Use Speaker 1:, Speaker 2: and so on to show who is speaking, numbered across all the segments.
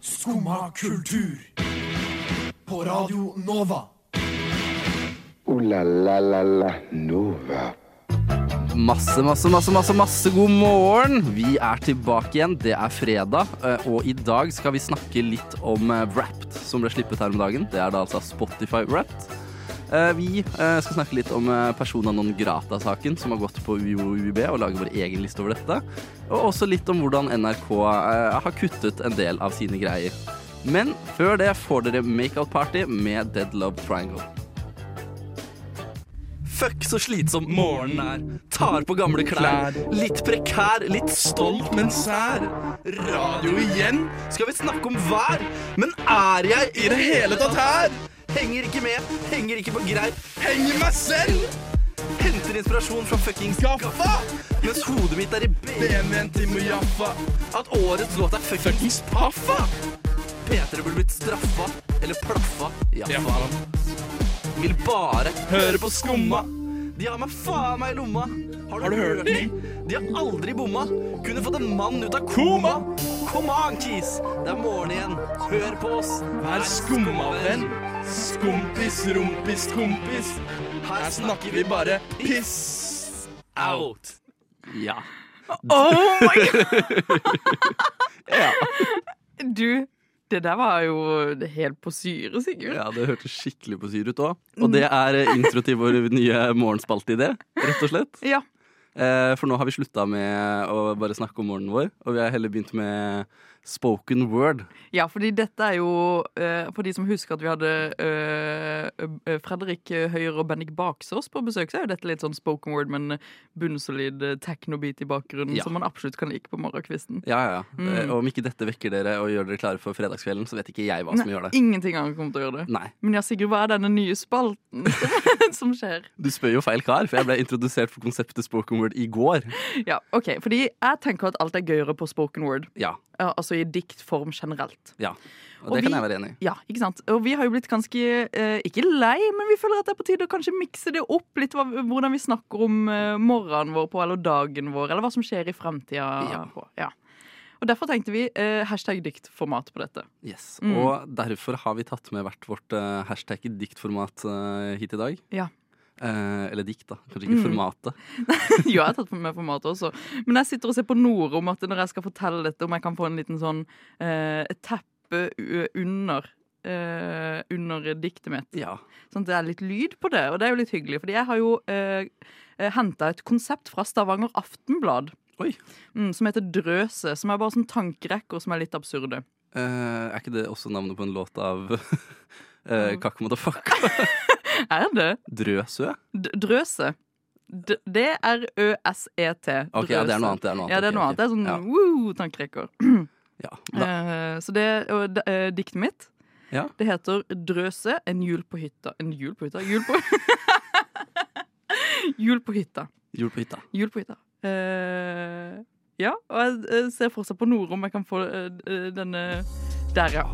Speaker 1: Skumma kultur. På Radio Nova.
Speaker 2: Ooh la la la la Nova.
Speaker 3: Masse, masse, masse, masse, masse god morgen! Vi er tilbake igjen. Det er fredag, eh, og i dag skal vi snakke litt om eh, Wrapped, som ble slippet her om dagen. Det er da altså Spotify Wrapped. Eh, Vi eh, skal snakke litt om eh, persona non grata-saken, som har gått på UiO og UiB, og lage vår egen liste over dette. Og også litt om hvordan NRK eh, har kuttet en del av sine greier. Men før det får dere Makeout Party med Dead Love Triangle. Fuck så slitsom morgenen er. Tar på gamle klær. Litt prekær, litt stolt, men sær. Radio igjen? Skal vi snakke om vær? Men er jeg i det hele tatt her? Henger ikke med, henger ikke på greip. Henger meg selv! Henter inspirasjon fra fuckings Gaffa! Mens hodet mitt er i BMW-en til Mujaffa. At årets låt er fuckings Paffa! P3 burde blitt straffa. Eller plaffa. Ja, faen. Vil bare høre på skumma. De har meg faen meg i lomma. Har du, hørt dem? De har aldri bomma. Kunne fått en mann ut av koma. Come on, kis. Det er morgen igjen. Hør på oss. Vær skumma, venn. Skumpis, rumpis, kompis. Her snakker vi bare piss out. Ja.
Speaker 4: Oh my god!
Speaker 3: Ja,
Speaker 4: Du, det der var jo helt på syre, Sigurd.
Speaker 3: ja det hørtes skikkelig på syr ut òg. Og det er eh, intro til vår nye morgenspalteidé, rett og slett.
Speaker 4: Ja.
Speaker 3: Eh, for nå har vi slutta med å bare snakke om morgenen vår, og vi har heller begynt med spoken word.
Speaker 4: ja, fordi dette er jo eh, For de som husker at vi hadde eh, eh, Fredrik Høyer og Bennik Baksås på besøk, så er jo dette litt sånn spoken word, men bunnsolid eh, techno-beat i bakgrunnen
Speaker 3: Ja.
Speaker 4: som man absolutt kan like på morgenkvisten.
Speaker 3: Ja, ja.
Speaker 4: Mm.
Speaker 3: Eh, og om ikke dette vekker dere og gjør dere klare for fredagskvelden, så vet ikke jeg hva som gjør det.
Speaker 4: Ingenting annet kommer til å gjøre det.
Speaker 3: Nei,
Speaker 4: Men ja, Sigurd, hva er denne nye spalten som- som skjer?
Speaker 3: du spør jo feil kar, for jeg ble introdusert for konseptet spoken word i går.
Speaker 4: Ja, ok, fordi jeg tenker at alt er gøyere på spoken word.
Speaker 3: Ja,
Speaker 4: Ja, altså i diktform generelt.
Speaker 3: ja. Og,
Speaker 4: Og
Speaker 3: det
Speaker 4: vi-
Speaker 3: kan jeg være enig i.
Speaker 4: Ja, ikke sant? Og vi har jo blitt ganske, eh, ikke lei, men vi føler at det er på tide å kanskje mikse det opp litt, hva, hvordan vi snakker om eh, morgenen vår på, eller dagen vår, eller hva som skjer i fremtida.
Speaker 3: Ja.
Speaker 4: på. Ja. Og derfor tenkte vi eh, hashtag diktformat på dette.
Speaker 3: Yes.
Speaker 4: Mm.
Speaker 3: Og derfor har vi tatt med hvert vårt eh, hashtag i diktformat eh, hit i dag.
Speaker 4: Ja.
Speaker 3: Eh, eller dikt, da. Kanskje ikke
Speaker 4: Mm.
Speaker 3: formatet.
Speaker 4: jo, jeg har tatt med formatet også. Men jeg sitter og ser på Norum at når jeg skal fortelle dette, om jeg kan få en liten sånn eh, et teppe u- under. eh, under diktet mitt.
Speaker 3: Ja.
Speaker 4: Sånn at det er litt lyd på det, og det er jo litt hyggelig. Fordi jeg har jo eh, henta et konsept fra Stavanger Aftenblad.
Speaker 3: Oi.
Speaker 4: Mm, som heter Drøse, som er bare sånn tankerekker som er litt absurde.
Speaker 3: Eh, er ikke det også navnet på en låt av uh, Kakk Motherfucka?
Speaker 4: Er det?
Speaker 3: Drøsø?
Speaker 4: D drøse. D- D-r-ø-s-e-t.
Speaker 3: Ok, ja, det er noe annet. Det er noe annet.
Speaker 4: E, Ja, det er
Speaker 3: Ok,
Speaker 4: noe
Speaker 3: ok.
Speaker 4: annet. Det er sånn
Speaker 3: Ja.
Speaker 4: woo, tankerekker.
Speaker 3: Ja, da,
Speaker 4: Eh, så det og d- eh, diktet mitt.
Speaker 3: Ja.
Speaker 4: Det heter 'Drøse en jul på hytta'. En jul på hytta? Jul på Jul på hytta.
Speaker 3: Jul på hytta.
Speaker 4: Jul på hytta. Eh, ja, og jeg eh, ser fortsatt på Nord om jeg kan få eh, eh, denne Der, ja.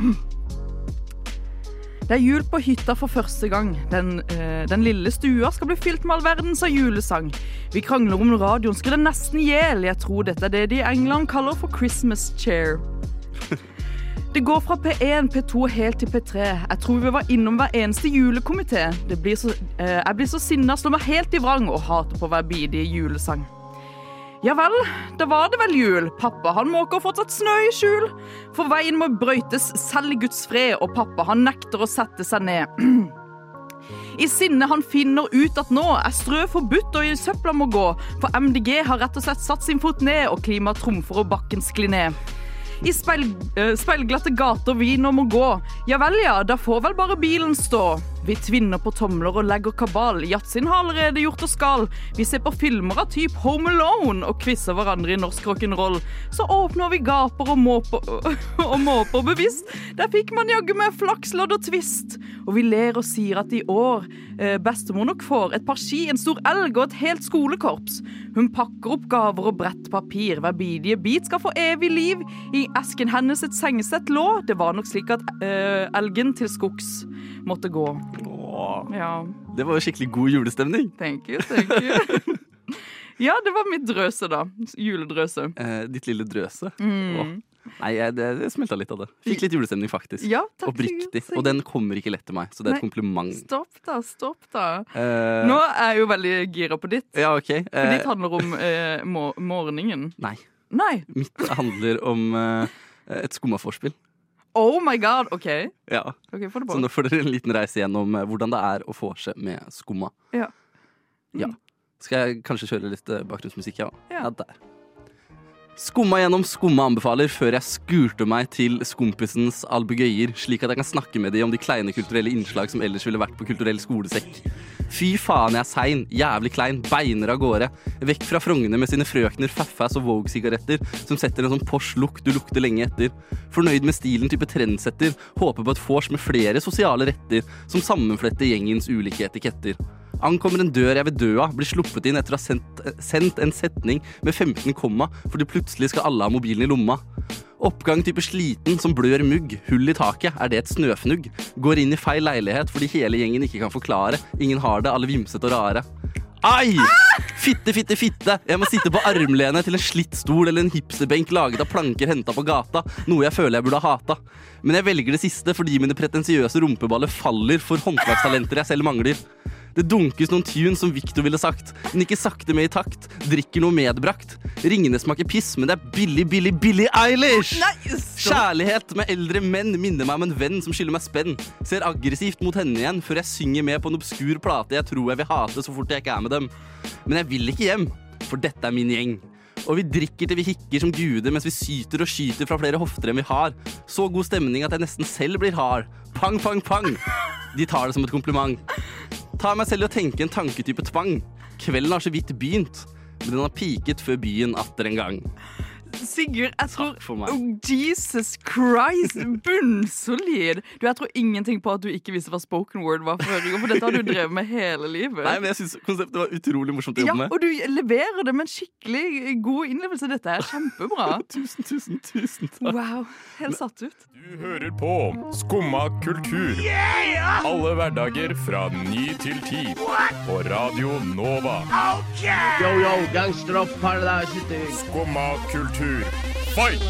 Speaker 4: Det er jul på hytta for første gang. Den, eh, den lille stua skal bli fylt med all verdens av julesang. Vi krangler om radioen skrur den nesten i hjel. Jeg tror dette er det de i England kaller for Christmas chair. Det går fra P1, P2 og helt til P3. Jeg tror vi var innom hver eneste julekomité. Det blir så, eh, jeg blir så sinna, slår meg helt i vrang og hater på hver bidige julesang. Ja vel, da var det vel jul. Pappa han måker fortsatt snø i skjul. For veien må brøytes selv i Guds fred, og pappa han nekter å sette seg ned. I sinne han finner ut at nå er strø forbudt og i søpla må gå, for MDG har rett og slett satt sin fot ned, og klimaet trumfer og bakken sklir ned. I speil, eh, speilglatte gater vi nå må gå. Ja vel, ja, da får vel bare bilen stå. Vi tvinner på tomler og legger kabal. Yatzyen har allerede gjort oss gal. Vi ser på filmer av type Home Alone og quizer hverandre i norsk rock'n'roll. Så åpner vi gaper og måper og måper bevisst. Der fikk man jaggu meg flakslodd og twist. Og vi ler og sier at i år eh, bestemor nok får et par ski, en stor elg og et helt skolekorps. Hun pakker opp gaver og bredt papir. Hver bidige bit skal få evig liv. I esken hennes et sengesett lå. Det var nok slik at eh, elgen til skogs måtte gå.
Speaker 3: Åh,
Speaker 4: Ja,
Speaker 3: det var jo skikkelig god julestemning.
Speaker 4: thank you, thank you. ja, det var mitt drøse, da. Juledrøse. Mm.
Speaker 3: Eh, ditt lille drøse. Åh, Nei, jeg, det, det smelta litt av det. Fikk litt julestemning, faktisk.
Speaker 4: Ja, takk
Speaker 3: Oppriktig.
Speaker 4: Sigurd.
Speaker 3: Og den kommer ikke lett til meg, så det er et
Speaker 4: Nei.
Speaker 3: kompliment.
Speaker 4: Stopp, da. Stopp, da.
Speaker 3: Eh,
Speaker 4: Nå er jeg jo veldig gira på ditt.
Speaker 3: Ja, ok. eh,
Speaker 4: For ditt handler om eh, mor morgenen.
Speaker 3: nei.
Speaker 4: Nei.
Speaker 3: Mitt handler om eh, et skumma vorspiel.
Speaker 4: Oh my god. OK.
Speaker 3: Ja.
Speaker 4: Ok, Få det
Speaker 3: Så
Speaker 4: på.
Speaker 3: nå får dere en liten reise gjennom eh, hvordan det er å vorse med skumma.
Speaker 4: Ja.
Speaker 3: Ja. Skal jeg kanskje kjøre litt eh, bakgrunnsmusikk, ja?
Speaker 4: Ja.
Speaker 3: Ja, der. Skumma gjennom skumma anbefaler før jeg skurte meg til skompisens albugøyer, slik at jeg kan snakke med de om de kleine kulturelle innslag som ellers ville vært på kulturell skolesekk. Fy faen, jeg er sein, jævlig klein, beiner av gårde. Vekk fra Frogner med sine frøkner, faffas og Vogue-sigaretter, som setter en sånn posh lukt du lukter lenge etter. Fornøyd med stilen type trendsetter, håper på et vors med flere sosiale retter, som sammenfletter gjengens ulike etiketter. Ankommer en dør jeg vil dø av, blir sluppet inn etter å ha sendt, eh, sendt en setning med 15 komma, fordi plutselig skal alle ha mobilen i lomma. Oppgang type sliten som blør mugg, hull i taket, er det et snøfnugg? Går inn i feil leilighet fordi hele gjengen ikke kan forklare, ingen har det, alle vimsete og rare. Ai! Fitte, fitte, fitte. Jeg må sitte på armlene til en slitt stol eller en hipsterbenk laget av planker henta på gata, noe jeg føler jeg burde ha hata. Men jeg velger det siste fordi mine pretensiøse rumpeballer faller for håndverkstalenter jeg selv mangler. Det dunkes noen tunes som Victor ville sagt, men ikke sakte med i takt. Drikker noe medbrakt. Ringene smaker piss, men det er billig, billig, billig Eilish! Kjærlighet med eldre menn minner meg om en venn som skylder meg spenn. Ser aggressivt mot henne igjen før jeg synger med på en obskur plate jeg tror jeg vil hate så fort jeg ikke er med dem. Men jeg vil ikke hjem, for dette er min gjeng. Og vi drikker til vi hikker som guder mens vi syter og skyter fra flere hofter enn vi har. Så god stemning at jeg nesten selv blir hard. Pang, pang, pang. De tar det som et kompliment. Tar meg selv i å tenke en tanketype tvang. Kvelden har så vidt begynt, men den har piket før byen atter en gang.
Speaker 4: Sigurd, jeg tror
Speaker 3: for meg.
Speaker 4: oh, Jesus Christ! Bunnsolid! Du, Jeg tror ingenting på at du ikke visste hva spoken word var før i går, for dette har du drevet med hele livet.
Speaker 3: Nei, men jeg syns konseptet var utrolig morsomt å
Speaker 4: ja,
Speaker 3: jobbe med.
Speaker 4: og du leverer det med en skikkelig god innlevelse. Dette er kjempebra.
Speaker 3: Tusen, tusen, tusen takk.
Speaker 4: Wow. Helt satt ut.
Speaker 5: Du hører på Skumma kultur. Alle hverdager fra ny til ti. På Radio Nova.
Speaker 6: Yo, yo, gangsteropp, paradise city.
Speaker 5: Skumma kultur. Fight!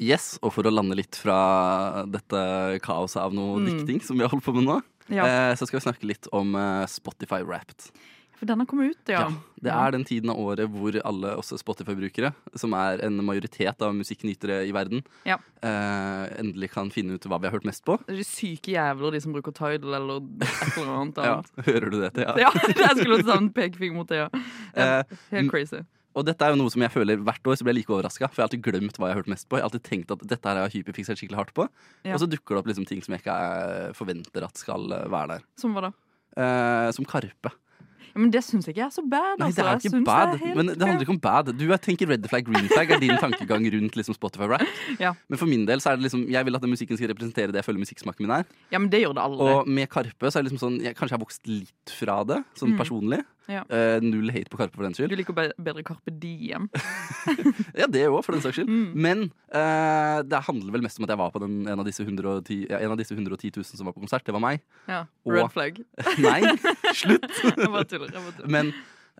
Speaker 3: Yes, og for å lande litt fra dette kaoset av noe dikting som vi har holdt på med nå,
Speaker 4: Ja.
Speaker 3: eh, så skal vi snakke litt om eh, Spotify Wrapped.
Speaker 4: For den har kommet ut, ja.
Speaker 3: Ja, det er den tiden av året hvor alle også Spotify-brukere, som er en majoritet av musikknytere i verden,
Speaker 4: Ja.
Speaker 3: eh, endelig kan finne ut hva vi har hørt mest på.
Speaker 4: Det er De syke jævler, de som bruker Tidal eller et eller annet.
Speaker 3: Ja,
Speaker 4: annet.
Speaker 3: hører du dette? Ja.
Speaker 4: Ja, jeg skulle ta en pekefinger mot det, ja.
Speaker 3: Eh,
Speaker 4: Helt crazy.
Speaker 3: Og dette er jo noe som jeg føler hvert år så blir jeg like overraska. For jeg har alltid glemt hva jeg har hørt mest på. Jeg har alltid tenkt at dette her har jeg hyperfiksert skikkelig hardt på.
Speaker 4: Ja.
Speaker 3: Og så dukker det opp liksom ting som jeg ikke eh, forventer at skal eh, være der.
Speaker 4: Som var det.
Speaker 3: Eh, som Karpe.
Speaker 4: Ja, men det syns jeg ikke er så bad.
Speaker 3: Nei,
Speaker 4: altså.
Speaker 3: det er
Speaker 4: Jeg
Speaker 3: ikke
Speaker 4: synes
Speaker 3: bad,
Speaker 4: det er helt
Speaker 3: men det handler ikke om bad. Du jeg tenker red flag, green flag er din tankegang rundt liksom Spotify rap.
Speaker 4: Ja.
Speaker 3: Men for min del så er det liksom, jeg vil at den musikken skal representere det jeg føler musikksmaken min er.
Speaker 4: Ja, men det gjør det aldri.
Speaker 3: Og med Karpe så er det liksom sånn, jeg kanskje jeg har vokst litt fra det, sånn personlig.
Speaker 4: Mm. Ja.
Speaker 3: Eh, null hate på Karpe for den skyld.
Speaker 4: Du liker be- bedre Carpe Diem.
Speaker 3: Ja, det òg, for den saks skyld.
Speaker 4: Mm.
Speaker 3: Men eh, det handler vel mest om at jeg var på den, en, av disse 110, ja, en av disse 110 000 som var på konsert. Det var meg.
Speaker 4: Ja.
Speaker 3: Og-
Speaker 4: Red flag.
Speaker 3: Nei, slutt!
Speaker 4: Jeg bare tuller. Jeg bare tuller.
Speaker 3: Men,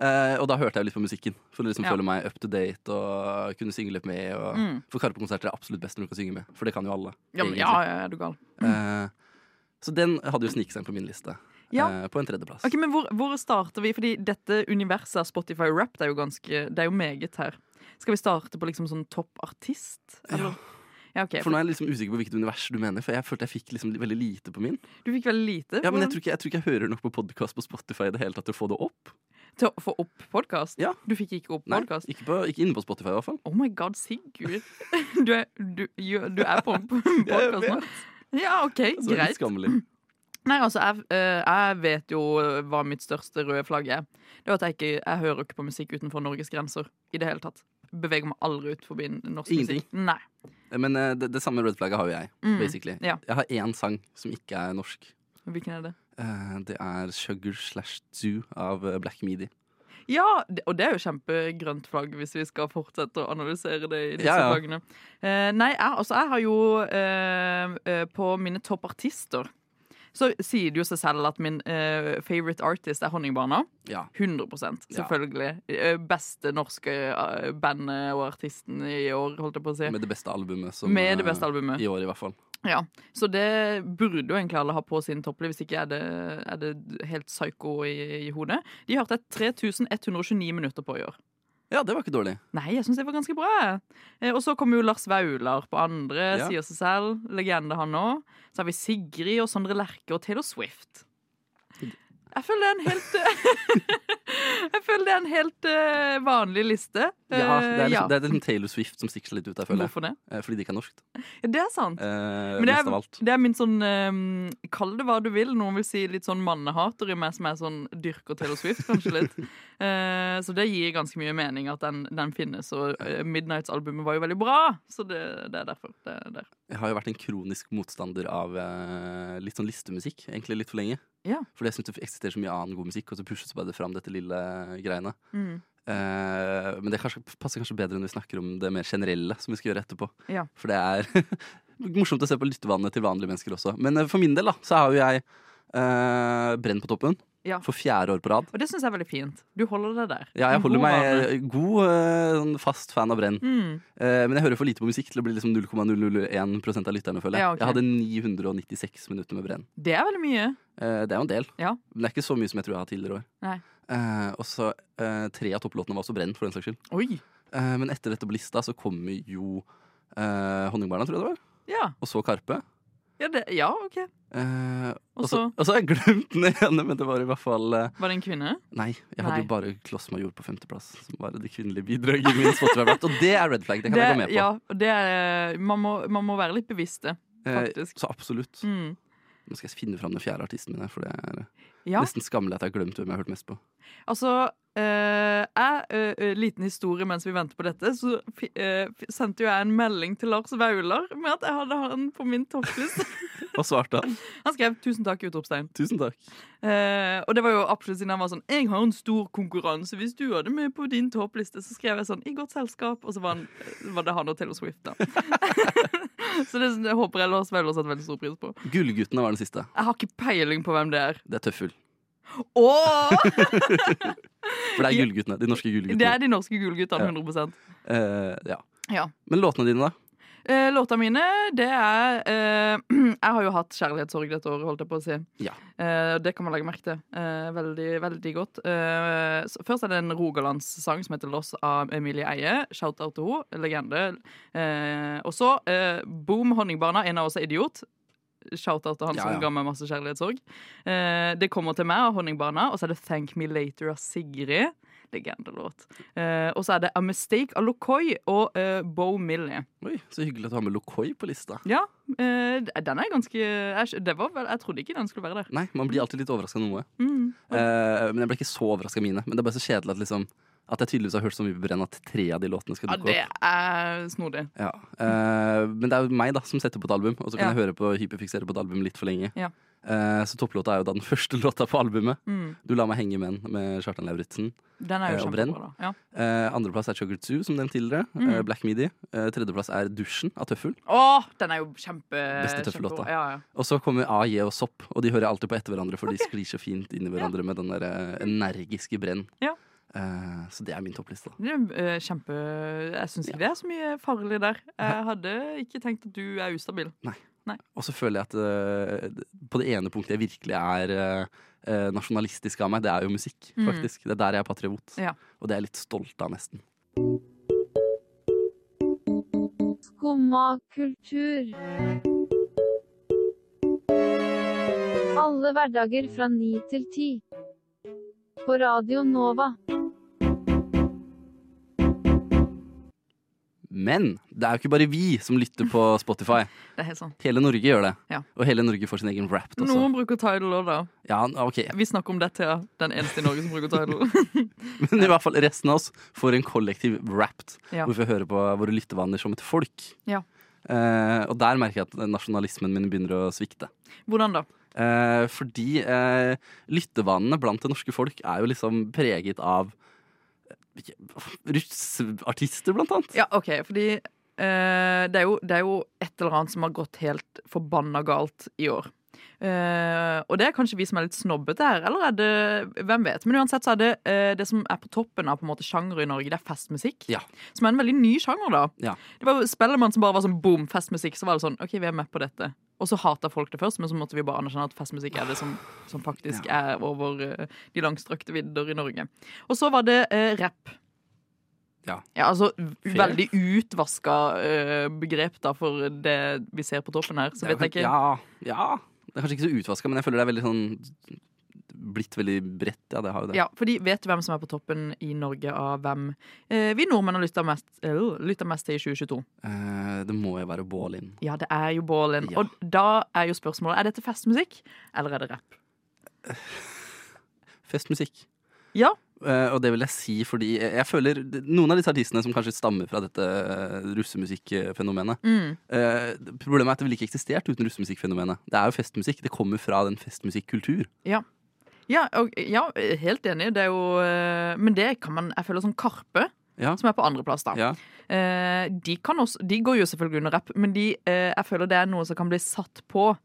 Speaker 3: eh, og da hørte jeg litt på musikken. For å liksom
Speaker 4: Ja. Mm.
Speaker 3: føle meg up to date og kunne synge litt med. Og, For Karpe-konserter er absolutt best når du kan synge med, for det kan jo alle.
Speaker 4: Ja, men,
Speaker 3: egentlig.
Speaker 4: ja, ja, er du gal.
Speaker 3: Eh, så den hadde jo sniket seg inn på min liste.
Speaker 4: Ja.
Speaker 3: eh, på en tredjeplass.
Speaker 4: Ok, men hvor, hvor starter vi? Fordi dette universet av Spotify Rap det er jo ganske Det er jo meget her. Skal vi starte på liksom sånn topp artist? Eller? Ja, ok.
Speaker 3: For nå er jeg liksom usikker på hvilket univers du mener, for jeg følte jeg fikk liksom veldig lite på min.
Speaker 4: Du fikk veldig lite
Speaker 3: Ja, men jeg
Speaker 4: på-
Speaker 3: tror ikke jeg, tror ikke jeg hører nok på podkast på Spotify i det hele tatt til å få det opp.
Speaker 4: til å få opp podkast.
Speaker 3: Ja.
Speaker 4: Du fikk ikke opp
Speaker 3: Nei,
Speaker 4: podkast.
Speaker 3: ikke, på, ikke inne på Spotify i hvert fall.
Speaker 4: Oh my god, Sigurd. Du er, du, gjør- du er på podkast nå? Ja, OK,
Speaker 3: Så det er litt
Speaker 4: greit.
Speaker 3: skammelig.
Speaker 4: Nei, altså, jeg, eh, jeg vet jo eh, hva mitt største røde flagg er. Det er at jeg ikke jeg hører ikke på musikk utenfor Norges grenser i det hele tatt. Beveger meg aldri ut forbi norsk
Speaker 3: Ingenting.
Speaker 4: musikk. Nei.
Speaker 3: Men eh, det, det samme red flagget har jo jeg,
Speaker 4: Mm,
Speaker 3: basically.
Speaker 4: ja.
Speaker 3: Jeg har én sang som ikke er norsk.
Speaker 4: Hvilken er det?
Speaker 3: Eh, det er Sugar slash Zoo av eh, Black Midi.
Speaker 4: Ja, det- og det er jo kjempegrønt flagg hvis vi skal fortsette å analysere det i disse
Speaker 3: Ja, ja.
Speaker 4: flaggene. Eh, nei, jeg, altså jeg har jo eh, eh, på mine toppartister så sier det jo seg selv at min eh, favorite artist er Honningbarna.
Speaker 3: Ja.
Speaker 4: 100 selvfølgelig. Eh, Beste norske eh, bandet og artisten i år, holdt jeg på å si.
Speaker 3: Med det beste albumet. Som,
Speaker 4: Med det
Speaker 3: eh,
Speaker 4: beste albumet.
Speaker 3: I år, i hvert fall.
Speaker 4: Ja, Så det burde jo egentlig alle ha på sin toppliste, hvis ikke er det, er det helt psycho i, i hodet. De hørte jeg 3129 minutter på i år.
Speaker 3: Ja, det var ikke dårlig.
Speaker 4: Nei, jeg syns det var ganske bra. Eh, Og så kommer jo Lars Vaular på andre,
Speaker 3: Ja.
Speaker 4: sier seg selv. Legende, han òg. Så har vi Sigrid og Sondre Lerche og Taylor Swift. Jeg føler det er en helt Jeg føler det er en helt eh, vanlig liste.
Speaker 3: Ja, det er
Speaker 4: Eh,
Speaker 3: liksom,
Speaker 4: ja.
Speaker 3: Det er liksom Taylor Swift som stikker seg litt ut der, føler jeg.
Speaker 4: Hvorfor det?
Speaker 3: Eh, Fordi de ikke er norsk.
Speaker 4: Ja, det er sant.
Speaker 3: Eh,
Speaker 4: Men det
Speaker 3: mest av
Speaker 4: er,
Speaker 3: alt.
Speaker 4: det er min sånn eh, Kall det hva du vil. Noen vil si litt sånn mannehater i meg som er sånn dyrker Taylor Swift, kanskje litt. Eh, så det gir ganske mye mening at den, den finnes. Og eh, Midnights-albumet var jo veldig bra, så det, det er derfor. Det er der.
Speaker 3: Jeg har jo vært en kronisk motstander av eh, litt sånn listemusikk, egentlig litt for lenge.
Speaker 4: Ja.
Speaker 3: Fordi jeg syns det eksisterer så mye annen god musikk, og så pushes bare det fram dette lille greiene.
Speaker 4: Mm.
Speaker 3: Eh, men det kanskje, passer kanskje bedre når vi snakker om det mer generelle, som vi skal gjøre etterpå.
Speaker 4: Ja.
Speaker 3: For det er morsomt å se på lyttevanene til vanlige mennesker også. Men eh, for min del da, så har jo jeg eh, Brenn på toppen
Speaker 4: Ja.
Speaker 3: for fjerde år på rad.
Speaker 4: Og det syns jeg er veldig fint. Du holder deg der.
Speaker 3: Ja, jeg
Speaker 4: En
Speaker 3: holder
Speaker 4: god vane.
Speaker 3: meg god, eh, sånn fast fan av Brenn.
Speaker 4: Mm.
Speaker 3: Eh, men jeg hører for lite på musikk til å bli liksom 0,001 av lytterne, føler jeg.
Speaker 4: Ja, ok.
Speaker 3: Jeg hadde 996 minutter med Brenn.
Speaker 4: Det er veldig mye.
Speaker 3: Eh, det er jo en del.
Speaker 4: Ja.
Speaker 3: Men det er ikke så mye som jeg tror jeg har hatt tidligere år.
Speaker 4: Nei.
Speaker 3: Eh, og så eh, Tre av topplåtene var også Brenn, for den saks skyld.
Speaker 4: Oi.
Speaker 3: Eh, men etter dette på lista så kommer jo eh, Honningbarna, tror jeg det var.
Speaker 4: Ja.
Speaker 3: Og så Karpe.
Speaker 4: Ja, det, ja, OK.
Speaker 3: Eh, og så
Speaker 4: Og så
Speaker 3: og så har jeg glemt den ene, men det var i hvert fall eh,
Speaker 4: var det en kvinne.
Speaker 3: Nei, jeg hadde
Speaker 4: Nei.
Speaker 3: jo bare Kloss Major på femteplass. Som bare det kvinnelige bidraget i min Spotify-blatt. Og det er red flag. Det kan jeg gå med på.
Speaker 4: ja, og det er, man, må, man må være litt bevisste.
Speaker 3: Eh,
Speaker 4: faktisk.
Speaker 3: så absolutt.
Speaker 4: Mm.
Speaker 3: Nå skal jeg finne fram den fjerde artisten min her, for det er
Speaker 4: Ja.
Speaker 3: nesten skammelig at jeg har glemt hvem jeg har hørt mest på.
Speaker 4: Altså, eh, jeg, eh, eh, liten historie mens vi venter på dette, så fi- eh, fi- sendte jo jeg en melding til Lars Vaular med at jeg hadde han på min toppliste.
Speaker 3: Hva svarte han?
Speaker 4: Han skrev 'tusen takk', utropstegn.
Speaker 3: Tusen takk.
Speaker 4: Eh, og det var jo absolutt siden han var sånn 'jeg har en stor konkurranse, hvis du hadde med på din toppliste', så skrev jeg sånn 'i godt selskap', og så var, han, eh, var det han og Taylor Swift, da. så det, sånn, det håper jeg Lars Vaular setter veldig stor pris på.
Speaker 3: Gullguttene var den siste.
Speaker 4: Jeg har ikke peiling på hvem det er.
Speaker 3: Det er tøffel.
Speaker 4: Åh!
Speaker 3: For det er
Speaker 4: Ja.
Speaker 3: gullguttene. De norske
Speaker 4: Det er
Speaker 3: gullguttene.
Speaker 4: de norske gullguttene, 100
Speaker 3: Eh, ja.
Speaker 4: Ja.
Speaker 3: Men låtene dine, da?
Speaker 4: Eh, Låta mine, det er eh, Jeg har jo hatt kjærlighetssorg dette året, holdt jeg på å si.
Speaker 3: Ja.
Speaker 4: Eh, og det kan man legge merke til. Eh, veldig, veldig godt. Eh, så først er det en rogalandssang som heter 'Loss' av Emilie Eie. Shout-out til henne. Legende. Eh, og så eh, Boom Honningbarna, en av oss er idiot. Shout-out til han
Speaker 3: Ja, ja.
Speaker 4: som ga meg masse kjærlighetssorg. Eh, det kommer til meg av Honningbarna, og så er det 'Thank Me Later' av Sigrid. Legendelåt. Eh, og så er det 'A Mistake' av Lokoi og eh, Bo Millie.
Speaker 3: Oi, så hyggelig at du har med Lokoi på lista.
Speaker 4: Ja, eh, den er ganske jeg, det var, vel- jeg trodde ikke den skulle være der.
Speaker 3: Nei, man blir alltid litt overraska av noe.
Speaker 4: Mm.
Speaker 3: Eh, men jeg ble ikke så overraska av mine. Men det er bare så kjedelig at, liksom, at jeg tydeligvis har hørt så mye på Brenn at tre av de låtene skal
Speaker 4: Ja,
Speaker 3: dukke
Speaker 4: det
Speaker 3: opp.
Speaker 4: er snodig.
Speaker 3: Ja. Eh, men det er jo meg da som setter på et album, og så kan
Speaker 4: Ja.
Speaker 3: jeg høre på hyperfiksere på et album litt for lenge.
Speaker 4: Ja.
Speaker 3: Eh, så topplåta er jo da den første låta på albumet.
Speaker 4: Mm.
Speaker 3: Du la meg henge med den med Kjartan Lauritzen.
Speaker 4: Den er
Speaker 3: Eh,
Speaker 4: jo
Speaker 3: og brenn.
Speaker 4: kjempebra, da. Ja.
Speaker 3: Eh, andreplass er Chocolate Zoo, som nevnt tidligere.
Speaker 4: Mm.
Speaker 3: Eh, Black Midi. Eh, tredjeplass er Dusjen av Tøffel.
Speaker 4: Å, den er jo kjempe
Speaker 3: Beste tøffelåta.
Speaker 4: kjempebra. Ja, ja.
Speaker 3: Og så kommer AJ og Sopp, og de hører jeg alltid på etter hverandre, for de sklir så fint inn i hverandre med den der eh, energiske brenn.
Speaker 4: Ja.
Speaker 3: Eh, så det er min toppliste. da.
Speaker 4: Det er, eh, kjempe Jeg syns ikke det er så mye farlig der. Jeg hadde ikke tenkt at du er ustabil.
Speaker 3: Og så føler jeg at eh, på det ene punktet jeg virkelig er eh, eh, nasjonalistisk av meg, det er jo musikk,
Speaker 4: Mm.
Speaker 3: faktisk. Det er der jeg er patriot.
Speaker 4: Ja.
Speaker 3: Og det er jeg litt stolt av, nesten.
Speaker 7: Skumma kultur. Alle hverdager fra ni til ti. På Radio Nova.
Speaker 3: Men det er jo ikke bare vi som lytter på Spotify.
Speaker 4: Det er helt sånn.
Speaker 3: Hele Norge gjør det.
Speaker 4: Ja.
Speaker 3: Og hele Norge får sin egen rap også.
Speaker 4: Noen bruker Tidal òg, da.
Speaker 3: Ja, ok.
Speaker 4: Vi snakker om dette, ja. Den eneste i Norge som bruker Tidal.
Speaker 3: Men i hvert fall resten av oss får en kollektiv wrapped,
Speaker 4: Ja.
Speaker 3: hvor vi får høre på våre lyttevaner som et folk.
Speaker 4: Ja.
Speaker 3: Eh, og der merker jeg at nasjonalismen min begynner å svikte.
Speaker 4: Hvordan da?
Speaker 3: Eh, fordi eh, lyttevanene blant det norske folk er jo liksom preget av russartister, blant annet.
Speaker 4: Ja, ok, fordi eh, det, er jo, det er jo et eller annet som har gått helt forbanna galt i år. Eh, og det er kanskje vi som er litt snobbete her, eller er det Hvem vet. Men uansett så er det eh, det som er på toppen av på en måte sjanger i Norge, det er festmusikk.
Speaker 3: Ja.
Speaker 4: Som er en veldig ny sjanger, da.
Speaker 3: Ja.
Speaker 4: Det var jo Spellemann som bare var sånn boom, festmusikk. Så var det sånn OK, vi er med på dette. Og så hata folk det først, men så måtte vi bare anerkjenne at festmusikk er det som, som faktisk er over eh, de langstrakte vidder i Norge. Og så var det eh, rapp.
Speaker 3: Ja.
Speaker 4: altså Veldig utvaska eh, begrep da for det vi ser på toppen her. Så
Speaker 3: Det er
Speaker 4: vet jeg
Speaker 3: kanskje-
Speaker 4: ikke.
Speaker 3: Ja, ja. Det er kanskje ikke så utvaska, men jeg føler det er veldig sånn Blitt veldig bredt. Ja, det har jo det.
Speaker 4: Ja, fordi Vet du hvem som er på toppen i Norge av hvem eh, vi nordmenn har lytta mest, øh, lyttet mest til i 2022?
Speaker 3: Eh, det må jo være Bålin.
Speaker 4: Ja, det er jo Bålin.
Speaker 3: Ja.
Speaker 4: Og da er jo spørsmålet er dette festmusikk eller er det rapp.
Speaker 3: Festmusikk.
Speaker 4: Ja,
Speaker 3: Eh, og det vil jeg si fordi jeg, jeg føler d- noen av disse artistene som kanskje stammer fra dette eh, russemusikkfenomenet
Speaker 4: Mm.
Speaker 3: eh, Problemet er at det ville ikke eksistert uten russemusikkfenomenet. Det er jo festmusikk. Det kommer fra den festmusikkultur.
Speaker 4: ja, og, ja helt enig. Det er jo eh, Men det kan man Jeg føler sånn Karpe,
Speaker 3: Ja.
Speaker 4: som er på andreplass, da.
Speaker 3: Ja.
Speaker 4: Eh, de, kan også, de går jo selvfølgelig under rapp, men de, eh, jeg føler det er noe som kan bli satt på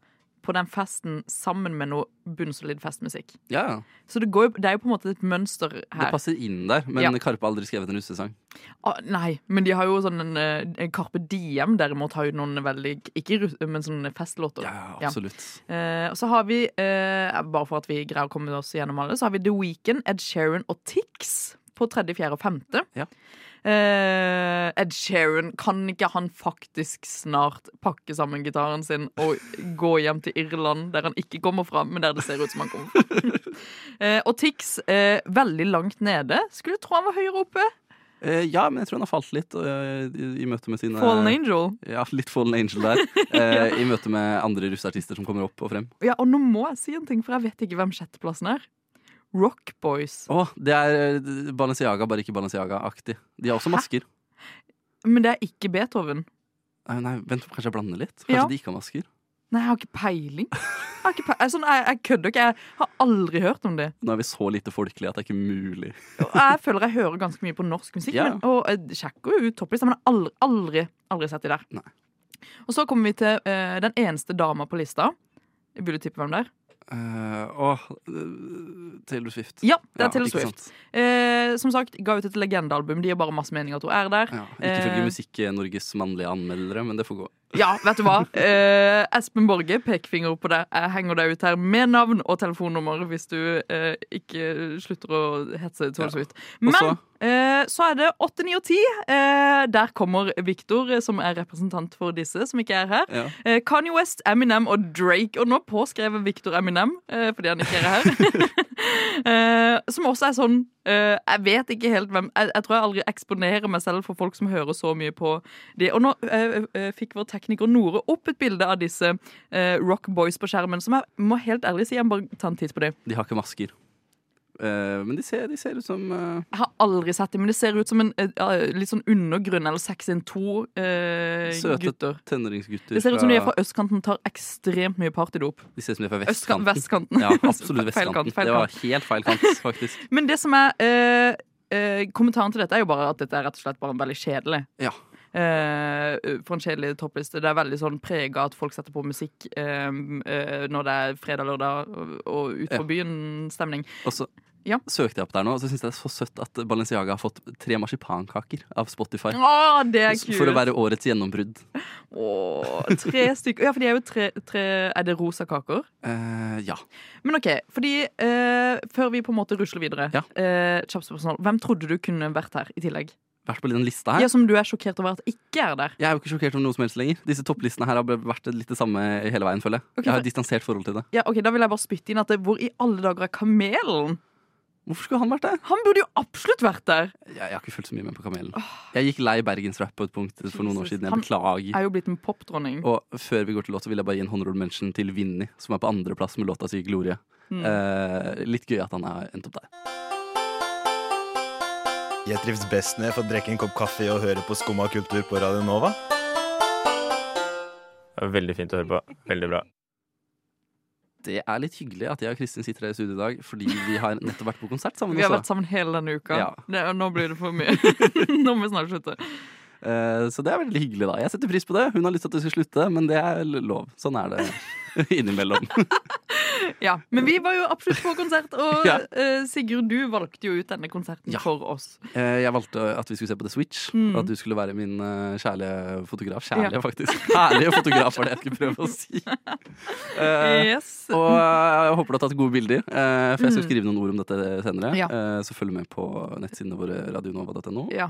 Speaker 4: på den festen sammen med noe bunnsolid festmusikk.
Speaker 3: ja.
Speaker 4: Så det, går, jo- det er jo på en måte et mønster her.
Speaker 3: Det passer inn der, men
Speaker 4: Ja.
Speaker 3: Karpe har aldri skrevet en russesang.
Speaker 4: Ah, nei, men de har jo sånn en, eh, en Carpe Diem derimot har jo noen veldig Ikke russ, men sånne festlåter.
Speaker 3: Ja,
Speaker 4: Ja.
Speaker 3: absolutt.
Speaker 4: Eh, og så har vi, eh, bare for at vi greier å komme oss gjennom alle, så har vi The Weeknd, Ed Sheeran og Tix på tredje, fjerde og femte.
Speaker 3: Ja.
Speaker 4: Eh, Ed Sheeran, kan ikke han faktisk snart pakke sammen gitaren sin og gå hjem til Irland, der han ikke kommer fra, men der det ser ut som han kommer fra? Eh, og Tix, eh, veldig langt nede. Skulle tro han var høyere oppe.
Speaker 3: Eh, ja, men jeg tror han har falt litt eh, i, i møte med sine
Speaker 4: Fallen Angel.
Speaker 3: Ja, litt Fallen Angel der. eh, I møte med andre russeartister som kommer opp og frem.
Speaker 4: Ja, og nå må jeg si en ting, for jeg vet ikke hvem sjetteplassen er. Rock Boys.
Speaker 3: Å, det er eh, Balenciaga, bare ikke Balenciaga-aktig. De har også
Speaker 4: Hæ?
Speaker 3: masker.
Speaker 4: Men det er ikke Beethoven.
Speaker 3: Nei, Eh, nei, vent, kanskje jeg blander litt? Kanskje
Speaker 4: Ja.
Speaker 3: de ikke har masker?
Speaker 4: Nei, jeg har ikke peiling. Jeg, har ikke pe- jeg, sånn, jeg, jeg kødder ikke. Jeg har aldri hørt om det.
Speaker 3: Nå er vi så lite folkelige at det er ikke mulig.
Speaker 4: Og jeg føler jeg hører ganske mye på norsk musikk.
Speaker 3: Ja.
Speaker 4: Men, og jeg sjekker jo ut topplista, men jeg har aldri, aldri, aldri sett de der.
Speaker 3: Nei.
Speaker 4: Og så kommer vi til eh, den eneste dama på lista. Vil du tippe hvem det er?
Speaker 3: Eh, Åh, eh, Taylor Swift.
Speaker 4: Ja, det er
Speaker 3: Ja,
Speaker 4: Taylor
Speaker 3: ikke
Speaker 4: Swift.
Speaker 3: sant?
Speaker 4: Eh, som sagt, ga ut et legendealbum. De gir bare masse mening at hun er der.
Speaker 3: Ja, ikke
Speaker 4: Eh.
Speaker 3: følge Musikk-Norges mannlige anmeldere, men det får gå.
Speaker 4: Ja, vet du hva? Eh, Espen Borge, pekefinger på deg. Jeg henger deg ut her med navn og telefonnummer hvis du eh, ikke slutter å hetse Tore
Speaker 3: Ja.
Speaker 4: Swift.
Speaker 3: Og
Speaker 4: Men
Speaker 3: så?
Speaker 4: eh, så er det 8, 9 og 10. Eh, der kommer Viktor, eh, som er representant for disse, som ikke er her.
Speaker 3: Ja.
Speaker 4: Eh, Kanye West, Eminem og Drake. Og nå påskrev Victor Eminem eh, fordi han ikke er her. eh, som også er sånn eh, Jeg vet ikke helt hvem jeg, jeg tror jeg aldri eksponerer meg selv for folk som hører så mye på de. Og nå eh, eh, fikk vår tekniker Nore opp et bilde av disse eh, Rock Boys på skjermen, som jeg må helt ærlig si, jeg må bare ta en titt på det.
Speaker 3: De har ikke masker. Eh, men de ser, de ser ut som eh,
Speaker 4: Jeg har aldri sett dem, men det ser ut som en eh, ja, litt sånn undergrunn eller 612-gutter.
Speaker 3: søte tenåringsgutter.
Speaker 4: eh, det ser ut som de er fra østkanten, tar ekstremt mye partydop.
Speaker 3: De ser ut som de er fra
Speaker 4: Østkant,
Speaker 3: vestkanten.
Speaker 4: vestkanten.
Speaker 3: Ja, absolutt
Speaker 4: Feil
Speaker 3: vestkanten.
Speaker 4: kant, feil
Speaker 3: Det var
Speaker 4: kant.
Speaker 3: helt feil kant, faktisk.
Speaker 4: Men det som er eh, eh, kommentaren til dette er jo bare at dette er rett og slett bare en veldig kjedelig.
Speaker 3: Ja.
Speaker 4: eh, for en kjedelig toppliste. Det er veldig sånn prega at folk setter på musikk eh, eh, når det er fredag, lørdag og, og ut på
Speaker 3: Ja.
Speaker 4: byen-stemning.
Speaker 3: Og så
Speaker 4: Ja.
Speaker 3: søkte jeg opp der nå, og så syns jeg det er så søtt at Balenciaga har fått tre marsipankaker av Spotify.
Speaker 4: Å, det er kult!
Speaker 3: For å være årets gjennombrudd.
Speaker 4: Åh, tre stykker. Ja, for de er jo tre, tre Er det rosa kaker?
Speaker 3: Eh, ja.
Speaker 4: Men OK, fordi eh, før vi på en måte rusler videre
Speaker 3: Ja.
Speaker 4: eh, Kjapt spørsmål. Hvem trodde du kunne vært her i tillegg?
Speaker 3: Vært på den lista her.
Speaker 4: Ja, Som du er sjokkert over at ikke er der?
Speaker 3: Jeg er jo ikke sjokkert om noe som helst lenger. Disse topplistene her har bare vært litt det samme hele veien, føler jeg.
Speaker 4: Ok,
Speaker 3: jeg har
Speaker 4: for-
Speaker 3: et distansert forhold til det.
Speaker 4: Ja, ok, Da vil jeg bare spytte inn at det, hvor i alle dager er kamelen?
Speaker 3: Hvorfor skulle han vært der?
Speaker 4: Han burde jo absolutt vært der!
Speaker 3: Jeg, jeg har ikke fulgt så mye med på Kamelen. Jeg gikk lei bergensrap på et punkt for noen år
Speaker 4: Jesus.
Speaker 3: siden. Jeg
Speaker 4: Han-
Speaker 3: beklager.
Speaker 4: Er jo blitt en popdronning.
Speaker 3: Og før vi går til låt, så vil jeg bare gi en honorable mention til Vinni, som er på andreplass med låta si 'Glorie'.
Speaker 4: Hmm.
Speaker 3: Eh, litt gøy at han har endt opp der.
Speaker 8: Jeg trives best når jeg får drikke en kopp kaffe og høre på Skumma kultur på Radio Nova.
Speaker 9: Veldig fint å høre på. Veldig bra.
Speaker 3: Det er litt hyggelig at jeg og Kristin sitter her i studio i dag, fordi vi har nettopp vært på konsert sammen.
Speaker 4: Vi har vært
Speaker 3: også.
Speaker 4: sammen hele denne uka.
Speaker 3: altså- Ja.
Speaker 4: Det, nå blir det for mye. nå må vi snart slutte.
Speaker 3: Eh, så det er veldig hyggelig, da. Jeg setter pris på det. Hun har lyst til at du skal slutte, men det er lov. Sånn er det. innimellom.
Speaker 4: Ja, Men vi var jo absolutt på konsert, og
Speaker 3: Ja.
Speaker 4: eh, Sigurd, du valgte jo ut denne konserten for oss.
Speaker 3: Eh, Jeg valgte at vi skulle se på The Switch,
Speaker 4: Mm.
Speaker 3: og at du skulle være min eh, kjærlige fotograf. Kjærlige, faktisk. Herlige fotograf var det jeg skulle prøve å si. Eh,
Speaker 4: Yes.
Speaker 3: Og eh, jeg håper du har tatt gode bilder, eh, for jeg skal
Speaker 4: Mm.
Speaker 3: skrive noen ord om dette senere.
Speaker 4: Ja.
Speaker 3: Eh, Så følg med på nettsidene våre radionova.no.
Speaker 4: Ja.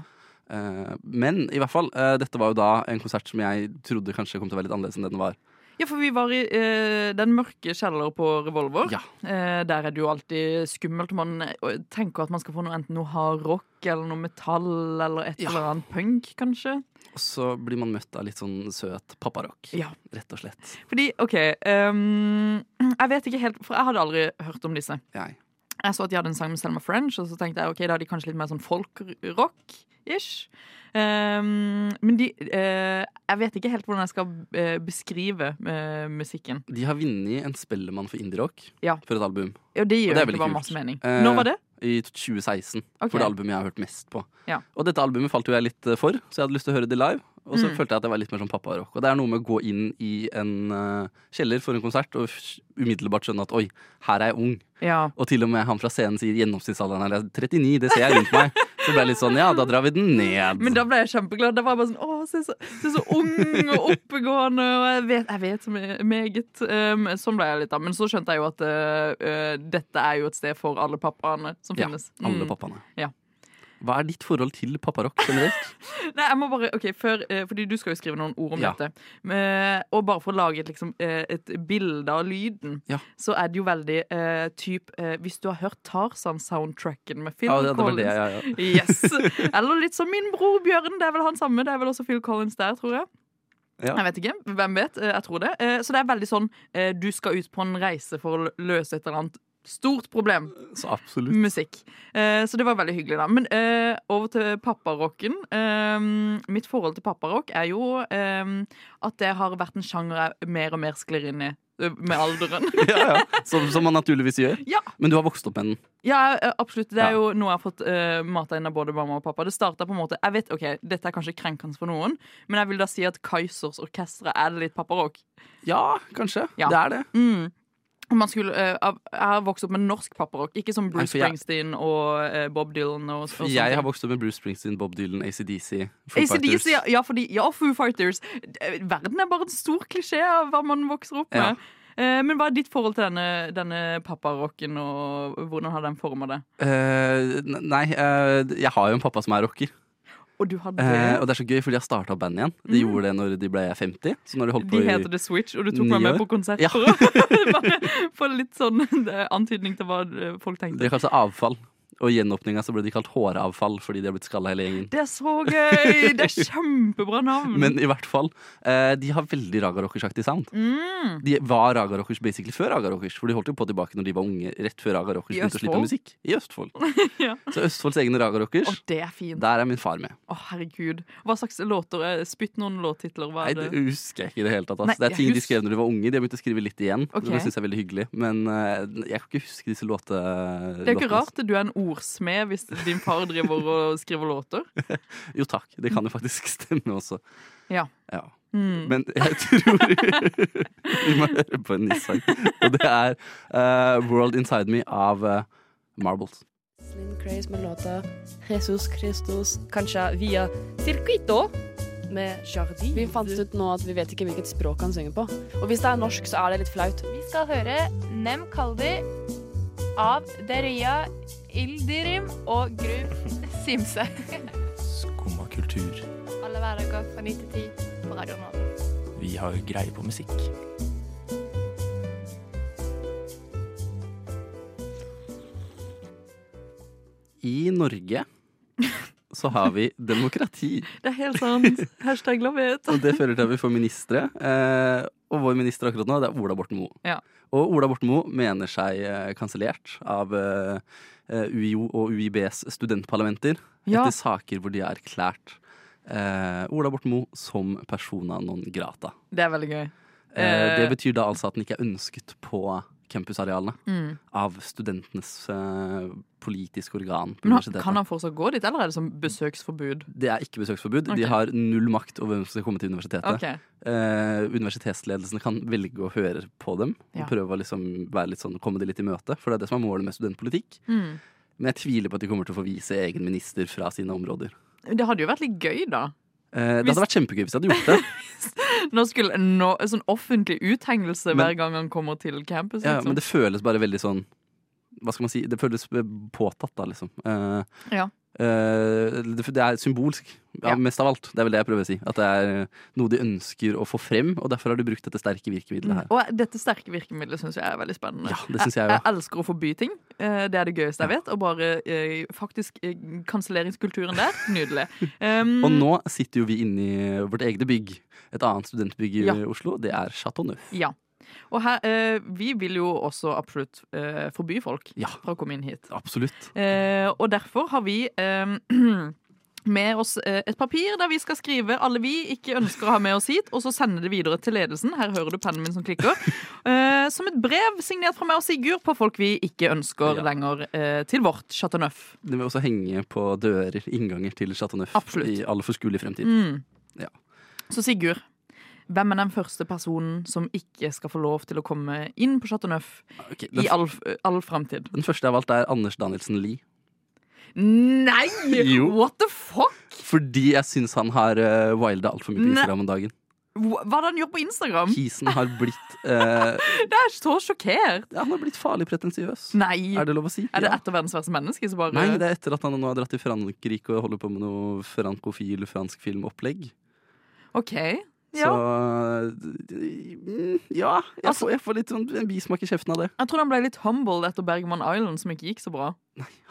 Speaker 3: Eh, Men i hvert fall, eh, dette var jo da en konsert som jeg trodde kanskje kom til å være litt annerledes enn det den var.
Speaker 4: ja, for vi var i eh, den mørke kjeller på Revolver.
Speaker 3: Ja.
Speaker 4: Eh, der er det jo alltid skummelt. Man eh, tenker at man skal få noe, enten noe hardrock eller noe metall eller et
Speaker 3: Ja.
Speaker 4: eller annet punk, kanskje.
Speaker 3: Og så blir man møtt av litt sånn søt papparock,
Speaker 4: Ja.
Speaker 3: rett og slett.
Speaker 4: Fordi, OK ehm, Jeg vet ikke helt, for jeg hadde aldri hørt om disse.
Speaker 3: Jeg.
Speaker 4: Jeg så at de hadde en sang med Selma French, og så tenkte jeg ok, da har de kanskje litt mer sånn folkrock-ish. Ehm, men de eh, Jeg vet ikke helt hvordan jeg skal eh, beskrive eh, musikken.
Speaker 3: De har vunnet en Spellemann for indierock
Speaker 4: Ja.
Speaker 3: for et album Og
Speaker 4: Og det gjør
Speaker 3: det er
Speaker 4: ikke
Speaker 3: veldig
Speaker 4: bare
Speaker 3: kult.
Speaker 4: masse mening.
Speaker 3: Eh,
Speaker 4: Når var det?
Speaker 3: i 2016.
Speaker 4: Ok.
Speaker 3: For det albumet jeg har hørt mest på.
Speaker 4: Ja.
Speaker 3: Og dette albumet falt jo jeg litt eh, for, så jeg hadde lyst til å høre det live. Og så
Speaker 4: Mm.
Speaker 3: følte jeg at jeg var litt mer sånn papparock. Og det er noe med å gå inn i en eh, kjeller for en konsert og f- umiddelbart skjønne at oi, her er jeg ung.
Speaker 4: Ja.
Speaker 3: Og til og med han fra scenen sier gjennomsnittsalderen er 39, det ser jeg rundt meg. Så det ble litt sånn ja, da drar vi den ned.
Speaker 4: Men da ble jeg kjempeglad. Da var jeg bare sånn Å, se så, se så ung og oppegående, og jeg vet, jeg vet så me- meget. Um, sånn ble jeg litt, da. Men så skjønte jeg jo at eh, eh, dette er jo et sted for alle pappaene som
Speaker 3: ja,
Speaker 4: finnes.
Speaker 3: alle
Speaker 4: Mm.
Speaker 3: pappaene.
Speaker 4: Ja.
Speaker 3: Hva er ditt forhold til papparock generelt?
Speaker 4: Nei, jeg må bare, ok, før, eh, fordi du skal jo skrive noen ord om
Speaker 3: Ja.
Speaker 4: dette. Eh, og bare for å lage et, liksom, eh, et bilde av lyden,
Speaker 3: Ja.
Speaker 4: så er det jo veldig eh, typ eh, Hvis du har hørt Tarzan-soundtracken med Phil
Speaker 3: Ja, det, det var det
Speaker 4: Collins.
Speaker 3: jeg ja.
Speaker 4: Yes! Eller litt som min bror Bjørn. Det er vel han samme. Det er vel også Phil Collins der, tror jeg.
Speaker 3: Ja.
Speaker 4: Jeg vet ikke. Hvem vet? Eh, Jeg tror det. Eh, Så det er veldig sånn eh, du skal ut på en reise for å løse et eller annet stort problem.
Speaker 3: Så absolutt.
Speaker 4: Musikk. Eh, Så det var veldig hyggelig, da. Men eh, over til papparocken. Eh, Mitt forhold til papparock er jo eh, at det har vært en sjanger jeg mer og mer sklir inn i eh, med alderen.
Speaker 3: ja, ja. Som, som man naturligvis gjør.
Speaker 4: Ja.
Speaker 3: Men du har vokst opp med den.
Speaker 4: Ja, eh, absolutt. Det
Speaker 3: Ja.
Speaker 4: er jo noe jeg har fått uh, mata inn av både mamma og pappa. Det startet på en måte Jeg vet, ok, Dette er kanskje krenkende for noen, men jeg vil da si at Kaizers orkestre er litt papparock.
Speaker 3: Ja, kanskje.
Speaker 4: Ja.
Speaker 3: Det er det.
Speaker 4: Mm. Og Man skulle, eh, av- jeg har vokst opp med norsk papparock, ikke som Bruce
Speaker 3: Nei, for jeg-
Speaker 4: Springsteen og eh, Bob Dylan. Og, og sånne
Speaker 3: Jeg
Speaker 4: ting.
Speaker 3: har vokst opp med Bruce Springsteen, Bob Dylan, ACDC, Foo Fighters.
Speaker 4: ACDC, ja, ja, fordi, ja, Foo Fighters. Eh, Verden er bare en stor klisjé av hva man vokser opp
Speaker 3: Ja.
Speaker 4: med. Eh, Men hva er ditt forhold til denne, denne papparocken, og hvordan har den forma det?
Speaker 3: Eh, n- nei, eh, jeg har jo en pappa som er rocker.
Speaker 4: Og du hadde
Speaker 3: Eh, og det er så gøy, fordi jeg starta band igjen. De
Speaker 4: Mm.
Speaker 3: gjorde det når de ble 50. Så når de holdt
Speaker 4: De
Speaker 3: på
Speaker 4: heter The Switch, og du tok meg
Speaker 3: ni år.
Speaker 4: med på konsert
Speaker 3: Ja.
Speaker 4: for å bare få litt sånn eh, antydning til hva eh, folk
Speaker 3: i De
Speaker 4: tenkte.
Speaker 3: kalte seg Avfall. Og i gjenåpninga så ble de kalt Håravfall fordi de har blitt skalla hele gjengen.
Speaker 4: Det er så gøy! Det er kjempebra navn.
Speaker 3: Men i hvert fall, eh, de har veldig Raga Rockers-aktig sound.
Speaker 4: mm,
Speaker 3: De var Raga Rockers basically før Raga Rockers, for de holdt jo på tilbake når de var unge. Rett før Raga Rockers
Speaker 4: I
Speaker 3: begynte å slippe
Speaker 4: Østfold?
Speaker 3: musikk. I Østfold.
Speaker 4: Ja.
Speaker 3: Så Østfolds egne Raga Rockers.
Speaker 4: å, det er fint.
Speaker 3: Der er min far med.
Speaker 4: Å, herregud. Hva slags låter? eh, Spytt noen låttitler. Hva
Speaker 3: Nei,
Speaker 4: er
Speaker 3: det
Speaker 4: det?
Speaker 3: husker jeg ikke i det hele tatt. ass.
Speaker 4: Nei,
Speaker 3: det er
Speaker 4: jeg
Speaker 3: ting de
Speaker 4: hus-
Speaker 3: skrev når de var unge. De har begynt å skrive litt igjen.
Speaker 4: Ok.
Speaker 3: Det synes jeg er veldig hyggelig. Men eh, jeg kan ikke huske disse låte...
Speaker 4: Det er jo ikke rart du er en ordsmed hvis din far driver og skriver låter.
Speaker 3: Jo takk, det kan jo faktisk stemme også.
Speaker 4: Ja.
Speaker 3: ja.
Speaker 4: Mm.
Speaker 3: Men jeg tror vi må høre på en ny sang. Og det er eh, World Inside Me av eh, Marbles.
Speaker 10: Slim Craze med låta Jesus Christus, kanskje via Circuito med Jardi. Vi fant ut nå at vi vet ikke hvilket språk han synger på. Og hvis det er norsk, så er det litt flaut.
Speaker 11: Vi skal høre Nem Kaldi av Deria Ildirim og Gru Simse.
Speaker 9: Skumma kultur.
Speaker 11: Alle hverdager fra 9 til 10 på Radio Nova.
Speaker 9: Vi har greie på musikk.
Speaker 3: I Norge så har vi demokrati.
Speaker 4: Det er helt sant. Hashtag gladhet.
Speaker 3: Og det fører til at vi får ministre. Eh, og vår minister akkurat nå, det er Ola Borten Moe.
Speaker 4: Ja.
Speaker 3: Og Ola Borten Moe mener seg eh, kansellert av eh, eh, UiO og UiBs studentparlamenter
Speaker 4: Ja.
Speaker 3: etter saker hvor de har erklært eh, Ola Borten Moe som persona non grata.
Speaker 4: Det er veldig gøy.
Speaker 3: Eh, det
Speaker 4: Eh.
Speaker 3: betyr da altså at den ikke er ønsket på campusarealene
Speaker 4: Mm.
Speaker 3: av studentenes eh, politiske organ på
Speaker 4: Men han-
Speaker 3: universitetet.
Speaker 4: Kan han fortsatt gå dit, eller er det som besøksforbud?
Speaker 3: Det er ikke besøksforbud.
Speaker 4: Ok.
Speaker 3: De har null makt over hvem som skal komme til universitetet.
Speaker 4: Ok.
Speaker 3: Eh, universitetsledelsene kan velge å høre på dem
Speaker 4: Ja.
Speaker 3: og prøve å liksom være litt sånn, komme det litt i møte. For det er det som er målet med studentpolitikk.
Speaker 4: Mm.
Speaker 3: Men jeg tviler på at de kommer til å få vise egen minister fra sine områder.
Speaker 4: Det hadde jo vært litt gøy, da.
Speaker 3: Eh, det hadde vært kjempegøy hvis de hadde gjort det.
Speaker 4: Nå skulle nå, en sånn offentlig
Speaker 3: Men-
Speaker 4: uthengelse hver gang han kommer til campus.
Speaker 3: Ja,
Speaker 4: liksom.
Speaker 3: men det føles bare veldig sånn Hva skal man si? Det føles eh, påtatt, da, liksom. Eh,
Speaker 4: Ja.
Speaker 3: eh, det, det er symbolsk, ja,
Speaker 4: Ja.
Speaker 3: mest av alt. Det er vel det jeg prøver å si. At det er noe de ønsker å få frem, og derfor har de brukt dette sterke
Speaker 4: Mm.
Speaker 3: virkemidlet her.
Speaker 4: Og dette sterke virkemidlet syns jeg er veldig spennende.
Speaker 3: det synes jeg
Speaker 4: jeg,
Speaker 3: også.
Speaker 4: elsker å forby ting. Eh, Det er det gøyeste jeg vet. Og bare eh, faktisk eh, kanselleringskulturen der. Nydelig. Um,
Speaker 3: Og nå sitter jo vi inne i vårt egne bygg. Et annet studentbygg i
Speaker 4: Ja.
Speaker 3: Oslo. Det er Chateau Neuf.
Speaker 4: Ja. Og her, eh, vi vil jo også absolutt eh, forby folk
Speaker 3: Ja.
Speaker 4: fra å komme inn hit.
Speaker 3: Absolutt.
Speaker 4: Eh, og derfor har vi eh, med oss eh, et papir der vi skal skrive alle vi ikke ønsker å ha med oss hit, og så sende det videre til ledelsen. Her hører du pennen min som klikker. Eh, som et brev signert fra meg og Sigurd på folk vi ikke ønsker lenger eh, til vårt Chateau Neuf.
Speaker 3: Det vil også henge på dører, innganger til Chateau Neuf
Speaker 4: Absolutt.
Speaker 3: i all forskuelig fremtid.
Speaker 4: Mm.
Speaker 3: Ja.
Speaker 4: Så Sigurd, hvem er den første personen som ikke skal få lov til å komme inn på Chateau Neuf
Speaker 3: Ok, den,
Speaker 4: i all, all framtid?
Speaker 3: den første jeg har valgt, er Anders Danielsen Lie.
Speaker 4: Nei!
Speaker 3: Jo.
Speaker 4: What the fuck?
Speaker 3: Fordi jeg syns han har uh, wilda altfor mye på
Speaker 4: Nei.
Speaker 3: Instagram om dagen.
Speaker 4: Hva hva er det han gjør på Instagram?
Speaker 3: Kisen har blitt eh,
Speaker 4: Det er så sjokkert.
Speaker 3: Han har blitt farlig pretensiøs.
Speaker 4: Nei.
Speaker 3: Er det lov å si?
Speaker 4: Mm. Er det
Speaker 3: Ja.
Speaker 4: etter verdens verste menneske? Så bare...
Speaker 3: Nei, det er etter at han nå har dratt til Frankrike og holder på med noe frankofil franskfilmopplegg.
Speaker 4: OK.
Speaker 3: Så
Speaker 4: Ja.
Speaker 3: mm, ja, jeg,
Speaker 4: Altså-
Speaker 3: får, jeg får litt sånn en bismak i kjeften av det.
Speaker 4: Jeg tror han ble litt humbled etter Bergman Island, som ikke gikk så bra.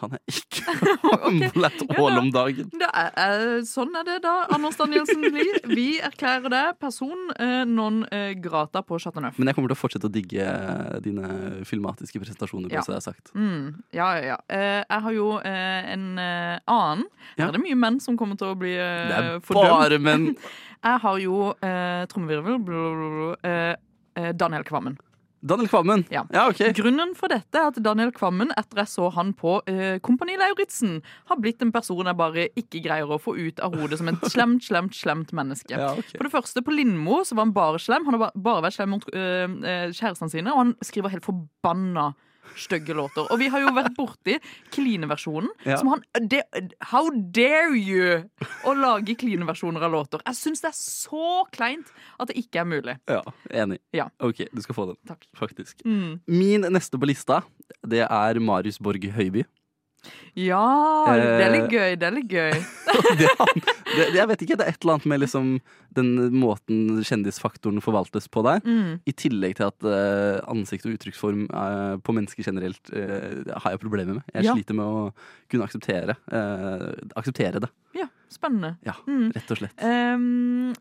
Speaker 3: Han er ikke humblett all om dagen.
Speaker 4: Det er, eh, sånn er det da, Anders Danielsen Lie. Vi erklærer deg person eh, non eh, grata på Chateau Neuf.
Speaker 3: Men jeg kommer til å fortsette å digge eh, dine filmatiske presentasjoner.
Speaker 4: Ja.
Speaker 3: Ja. Jeg sagt.
Speaker 4: Mm, ja, ja, ja. Eh, jeg har jo eh, en eh, annen. Her er det mye menn som kommer til å bli eh,
Speaker 3: Det er
Speaker 4: fordømt.
Speaker 3: bare menn.
Speaker 4: jeg har jo eh, trommevirvel blablabla, eh, eh, Daniel Kvammen.
Speaker 3: Daniel Kvammen.
Speaker 4: Ja.
Speaker 3: ok.
Speaker 4: Grunnen for dette er at Daniel Kvammen, etter jeg så han på eh, Kompani Lauritzen, har blitt en person jeg bare ikke greier å få ut av hodet som et slemt, slemt, slemt menneske.
Speaker 3: Ja, ok.
Speaker 4: For det første, på Lindmo så var han bare slem. Han har ba- bare vært slem mot eh, eh, kjærestene sine, og han skriver helt forbanna stygge låter. Og vi har jo vært borti klineversjonen.
Speaker 3: Ja.
Speaker 4: Som han det, How dare you å lage klineversjoner av låter? Jeg syns det er så kleint at det ikke er mulig.
Speaker 3: Ja, Enig.
Speaker 4: Ja.
Speaker 3: Ok, du skal få den.
Speaker 4: Takk.
Speaker 3: Faktisk.
Speaker 4: Mm.
Speaker 3: Min neste på lista, det er Marius Borg Høiby.
Speaker 4: Ja, det
Speaker 3: Eh,
Speaker 4: er litt gøy. Det er litt gøy.
Speaker 3: Det, det, jeg vet ikke, det er et eller annet med liksom den måten kjendisfaktoren forvaltes på der.
Speaker 4: Mm.
Speaker 3: I tillegg til at eh, ansikt og uttrykksform eh, på mennesker generelt eh, har jeg problemer med. Jeg
Speaker 4: Ja.
Speaker 3: sliter med å kunne akseptere, eh, akseptere det.
Speaker 4: Ja, spennende.
Speaker 3: Ja,
Speaker 4: Mm.
Speaker 3: rett og slett.
Speaker 4: Ehm,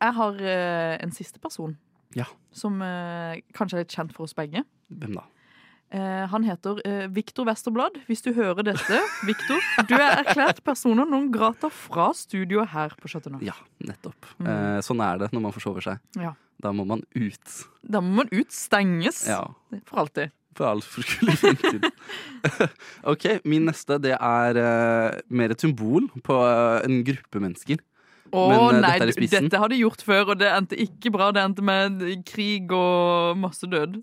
Speaker 4: jeg har eh, en siste person
Speaker 3: Ja.
Speaker 4: som eh, kanskje er litt kjent for oss begge.
Speaker 3: Hvem da?
Speaker 4: Eh, han heter uh, Viktor Westerblad. Hvis du hører dette, Viktor, du er erklært personer noen grater fra studioet her på Chateau Neuf.
Speaker 3: Ja, nettopp.
Speaker 4: Mm.
Speaker 3: Eh, sånn er det når man forsover seg.
Speaker 4: Ja.
Speaker 3: Da må man ut.
Speaker 4: Da må man utstenges
Speaker 3: Ja,
Speaker 4: for alltid.
Speaker 3: for all forskjellig fremtid. ok, min neste det er eh, mer et symbol på eh, en gruppe mennesker.
Speaker 4: Å
Speaker 3: Men, eh,
Speaker 4: nei,
Speaker 3: dette er i
Speaker 4: du-
Speaker 3: spissen.
Speaker 4: dette har de gjort før, og det endte ikke bra. Det endte med krig og masse død.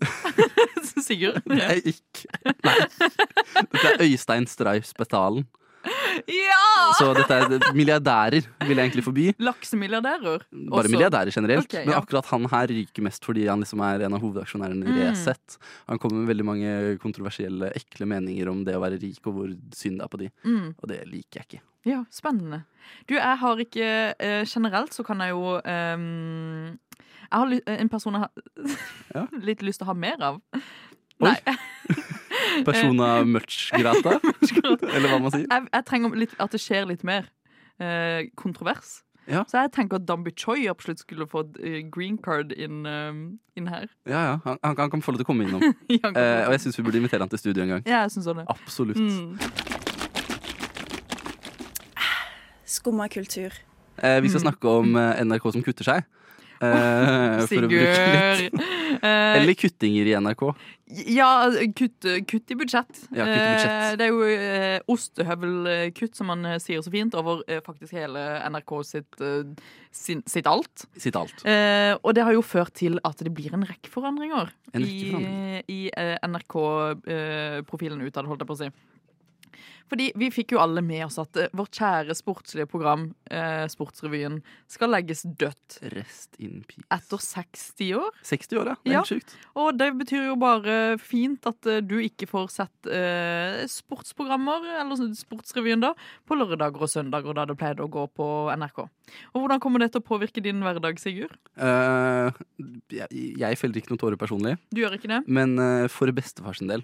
Speaker 4: Sigurd?
Speaker 3: Det er ikke Nei. Dette er Øystein Streif Spetalen.
Speaker 4: Ja!
Speaker 3: Så dette er milliardærer, vil jeg egentlig forby.
Speaker 4: Laksemilliardærer.
Speaker 3: Bare
Speaker 4: også.
Speaker 3: milliardærer generelt.
Speaker 4: Ok,
Speaker 3: Men
Speaker 4: ja.
Speaker 3: akkurat han her ryker mest fordi han liksom er en av hovedaksjonærene i
Speaker 4: Mm.
Speaker 3: Resett. Han kommer med veldig mange kontroversielle, ekle meninger om det å være rik, og hvor synd det er på de.
Speaker 4: Mm.
Speaker 3: Og det liker jeg ikke.
Speaker 4: Ja, spennende. Du, jeg har ikke eh, Generelt så kan jeg jo ehm, Jeg har ly en person jeg har
Speaker 3: Ja.
Speaker 4: litt lyst til å ha mer av.
Speaker 3: Oi.
Speaker 4: Nei, Eh.
Speaker 3: Persona Much-grata, eller hva man sier.
Speaker 4: jeg, jeg trenger litt, at det skjer litt mer eh, kontrovers.
Speaker 3: Ja.
Speaker 4: Så jeg tenker at Dambi Choi absolutt skulle få et eh, green card inn, ehm, inn her.
Speaker 3: Ja, ja, han, han, han kan få lov til å komme innom.
Speaker 4: Ja,
Speaker 3: Eh, og jeg syns vi burde invitere han til studio en gang.
Speaker 4: ja, jeg syns sånn det.
Speaker 3: Absolutt.
Speaker 4: Mm.
Speaker 12: Skumma kultur.
Speaker 4: Mm.
Speaker 3: Eh, vi skal snakke om eh, NRK som kutter seg. Eh, for å bruke litt
Speaker 4: Sigurd! Eh,
Speaker 3: Eller kuttinger i NRK.
Speaker 4: Ja, kutt, kutt i budsjett.
Speaker 3: Ja, kutt i budsjett.
Speaker 4: Eh, Det er jo eh, ostehøvelkutt, som man eh, sier så fint, over eh, faktisk hele NRK sitt, eh, sin, sitt alt.
Speaker 3: Sitt alt.
Speaker 4: Eh, og det har jo ført til at det blir en rekke forandringer
Speaker 3: En rekke
Speaker 4: i, i eh, NRK-profilen utad, holdt jeg på å si. Fordi vi fikk jo alle med oss at eh, vårt kjære sportslige program, eh, Sportsrevyen, skal legges dødt
Speaker 3: Rest in peace.
Speaker 4: etter 60 år.
Speaker 3: 60 år, ja. Det er
Speaker 4: Ja.
Speaker 3: helt sjukt.
Speaker 4: Og det betyr jo bare fint at eh, du ikke får sett eh, sportsprogrammer, eller sånn Sportsrevyen, da, på lørdager og søndager, da det pleide å gå på NRK. Og hvordan kommer det til å påvirke din hverdag, Sigurd?
Speaker 3: Eh, jeg, jeg feller ikke noen tårer personlig,
Speaker 4: Du gjør ikke det?
Speaker 3: men eh, for bestefars del.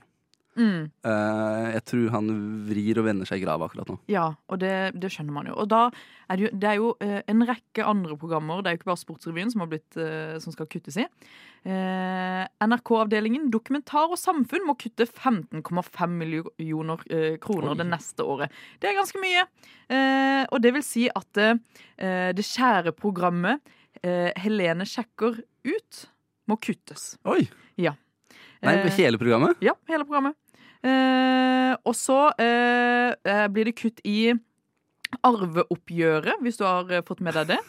Speaker 4: Mm.
Speaker 3: Eh, jeg tror han vrir og vender seg i grava akkurat nå.
Speaker 4: Ja, og det, det skjønner man jo. Og da er det jo, det er jo eh, en rekke andre programmer, det er jo ikke bare Sportsrevyen som, har blitt, eh, som skal kuttes i. Eh, NRK-avdelingen Dokumentar og samfunn må kutte 15,5 millioner eh, kroner
Speaker 13: Oi.
Speaker 4: det neste året. Det er ganske mye. Eh, og det vil si at eh, det kjære programmet eh, Helene sjekker ut må kuttes.
Speaker 3: Oi!
Speaker 4: Ja.
Speaker 3: Nei,
Speaker 4: Eh,
Speaker 3: hele programmet?
Speaker 4: ja, hele programmet. Eh, og så eh, eh, blir det kutt i arveoppgjøret, hvis du har eh, fått med deg det.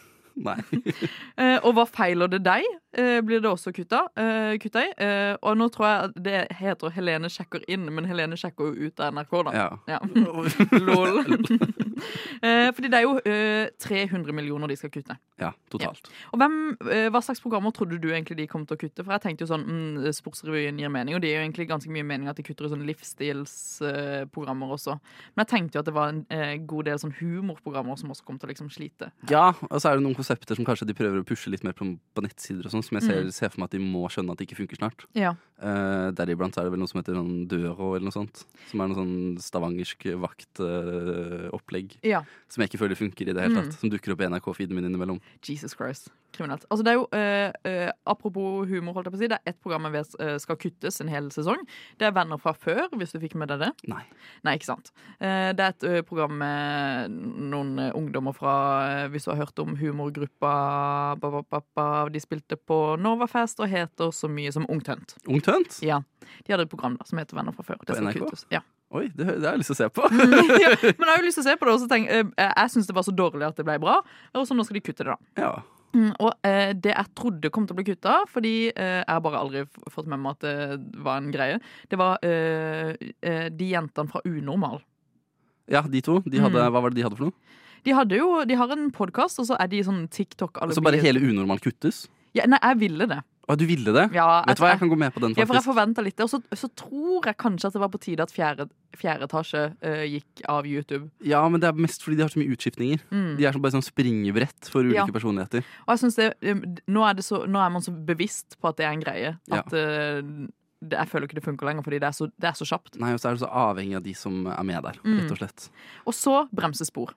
Speaker 3: Nei.
Speaker 4: Eh, og hva feiler det deg? Eh, blir det også kutta, eh, kutta i. Eh, og nå tror jeg at det heter Helene sjekker inn, men Helene sjekker jo ut av NRK, da.
Speaker 3: Ja.
Speaker 4: Lol. eh, fordi det er jo eh, 300 millioner de skal kutte.
Speaker 3: Ja, totalt.
Speaker 4: Og hvem, eh, Hva slags programmer trodde du egentlig de kom til å kutte? For jeg tenkte jo sånn, mm, Sportsrevyen gir mening, og det gir jo egentlig ganske mye mening at de kutter i sånne livsstilsprogrammer også. Men jeg tenkte jo at det var en eh, god del sånn humorprogrammer som også kom til å liksom slite.
Speaker 3: Ja, og så er det noen konsepter som kanskje de prøver å pushe litt mer på, på nettsider og sånn, som jeg ser,
Speaker 4: Mm.
Speaker 3: ser for meg at de må skjønne at det ikke funker snart.
Speaker 4: Ja.
Speaker 3: Eh, deriblant så er det vel noe som heter sånn Døro eller noe sånt. Som er noe sånn stavangersk vaktopplegg.
Speaker 4: Ja.
Speaker 3: Som jeg ikke føler funker i det hele
Speaker 4: Mm.
Speaker 3: tatt. Som dukker opp i NRK-feeden min innimellom.
Speaker 4: Jesus Christ. Kriminelt. Altså det er jo, eh, eh, Apropos humor, holdt jeg på å si, det er ett program jeg vet eh, skal kuttes en hel sesong. Det er Venner fra før, hvis du fikk med deg det.
Speaker 3: Nei.
Speaker 4: Nei, ikke sant. Eh, det er et eh, program med noen eh, ungdommer fra eh, Hvis du har hørt om humorgruppa ba, ba, ba, ba, De spilte på Novafest og heter så mye som Ungtønt.
Speaker 3: Ungtønt?
Speaker 4: Ja. De hadde et program da, som heter Venner fra før.
Speaker 3: På
Speaker 4: Det skal
Speaker 3: NRK?
Speaker 4: kuttes. Ja.
Speaker 3: Oi, det, det har jeg lyst til å se på.
Speaker 4: ja, men jeg har jo lyst til å se på det, og så tenk, eh, jeg syns det var så dårlig at det ble bra, og så nå skal de kutte det, da.
Speaker 3: ja.
Speaker 4: Mm, og eh, det jeg trodde kom til å bli kutta, fordi eh, jeg har bare aldri f- fått med meg at det var en greie, det var eh, eh, de jentene fra Unormal.
Speaker 3: ja, de to. De hadde,
Speaker 4: Mm.
Speaker 3: Hva var det de hadde for noe?
Speaker 4: De, hadde jo, de har en podkast, og så er de sånn tiktok
Speaker 3: Så bare hele unormal kuttes?
Speaker 4: ja, Nei, jeg ville det.
Speaker 3: Å, du ville det?
Speaker 4: Ja,
Speaker 3: Vet du hva, jeg kan gå med på den,
Speaker 4: Ja, for jeg
Speaker 3: faktisk.
Speaker 4: forventa litt det. Og så, så tror jeg kanskje at det var på tide at fjerde, fjerde etasje eh, gikk av YouTube.
Speaker 3: Ja, men det er mest fordi de har så mye utskiftninger.
Speaker 4: Mm.
Speaker 3: De er som bare sånn springebrett for ulike
Speaker 4: Ja.
Speaker 3: personligheter.
Speaker 4: Og jeg synes det, um, d- nå, er det så, nå er man så bevisst på at det er en greie.
Speaker 3: Ja.
Speaker 4: At eh, det, jeg føler ikke det funker lenger, fordi det er så, det er så kjapt.
Speaker 3: Nei, og så er du så avhengig av de som er med der,
Speaker 4: Mm.
Speaker 3: rett og slett.
Speaker 4: Og så bremsespor,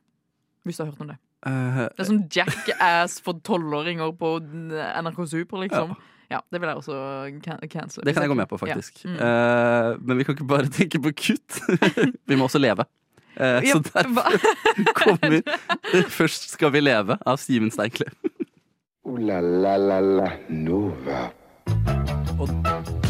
Speaker 4: hvis du har hørt om det.
Speaker 3: Eh,
Speaker 4: Det er sånn jackass for tolvåringer på NRK Super, liksom. Ja, det vil jeg også can cancele.
Speaker 3: det kan jeg gå med på, faktisk.
Speaker 4: Ja. Mm.
Speaker 3: Eh, men vi kan ikke bare tenke på kutt. vi må også leve. Eh,
Speaker 4: Ja,
Speaker 3: så derfor kommer Først skal vi leve av Simen Steinklev.
Speaker 2: Ooh la la la la Nova.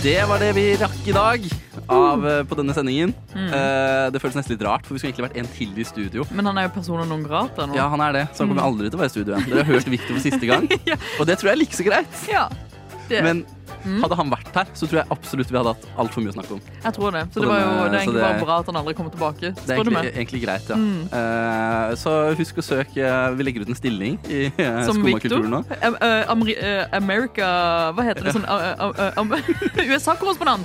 Speaker 3: Det var det vi rakk i dag av, eh, på denne sendingen.
Speaker 4: Mm.
Speaker 3: Eh, det føles nesten litt rart, for vi skulle egentlig vært en til i studio.
Speaker 4: Men han er jo persona non grata nå.
Speaker 3: Ja, han er det, så han kommer
Speaker 4: Mm.
Speaker 3: aldri til å være i studio igjen. Dere har hørt Victor for siste gang, og det tror jeg er like så greit.
Speaker 4: Ja, Mm. det.
Speaker 3: Men hadde han vært her, så tror jeg absolutt vi hadde hatt altfor mye å snakke om.
Speaker 4: jeg tror det. Så
Speaker 3: Og
Speaker 4: det, var jo,
Speaker 3: den, eh,
Speaker 4: det
Speaker 3: så
Speaker 4: er egentlig
Speaker 3: det-
Speaker 4: bare bra at han aldri kommer tilbake.
Speaker 3: Det er
Speaker 4: Spør du
Speaker 3: egentlig,
Speaker 4: meg.
Speaker 3: egentlig greit, ja.
Speaker 4: Mm.
Speaker 3: Eh, så husk å søke eh, Vi legger ut en stilling i uh,
Speaker 4: Som Victor.
Speaker 3: Skummakulturen nå.
Speaker 4: Am- eh, Ameri- eh, America Hva heter det sånn eh, eh, am- USA-korrespondent!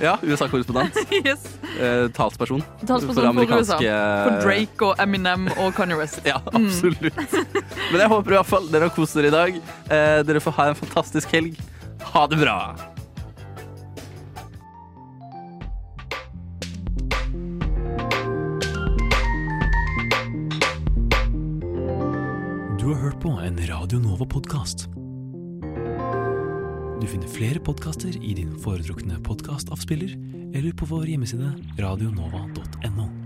Speaker 3: Ja, USA-korrespondent.
Speaker 4: Yes.
Speaker 3: eh, talsperson.
Speaker 4: Talsperson for, USA. For
Speaker 3: eh,
Speaker 4: Drake Mm. og Eminem og Kanye West.
Speaker 3: Ja, absolutt. Men jeg håper i hvert fall dere har kost dere i dag. Eh, dere får ha en fantastisk helg. Ha det bra!
Speaker 14: Du har hørt på en Radio Nova-podkast. Du finner flere podkaster i din foretrukne podkastavspiller eller på vår hjemmeside radionova.no.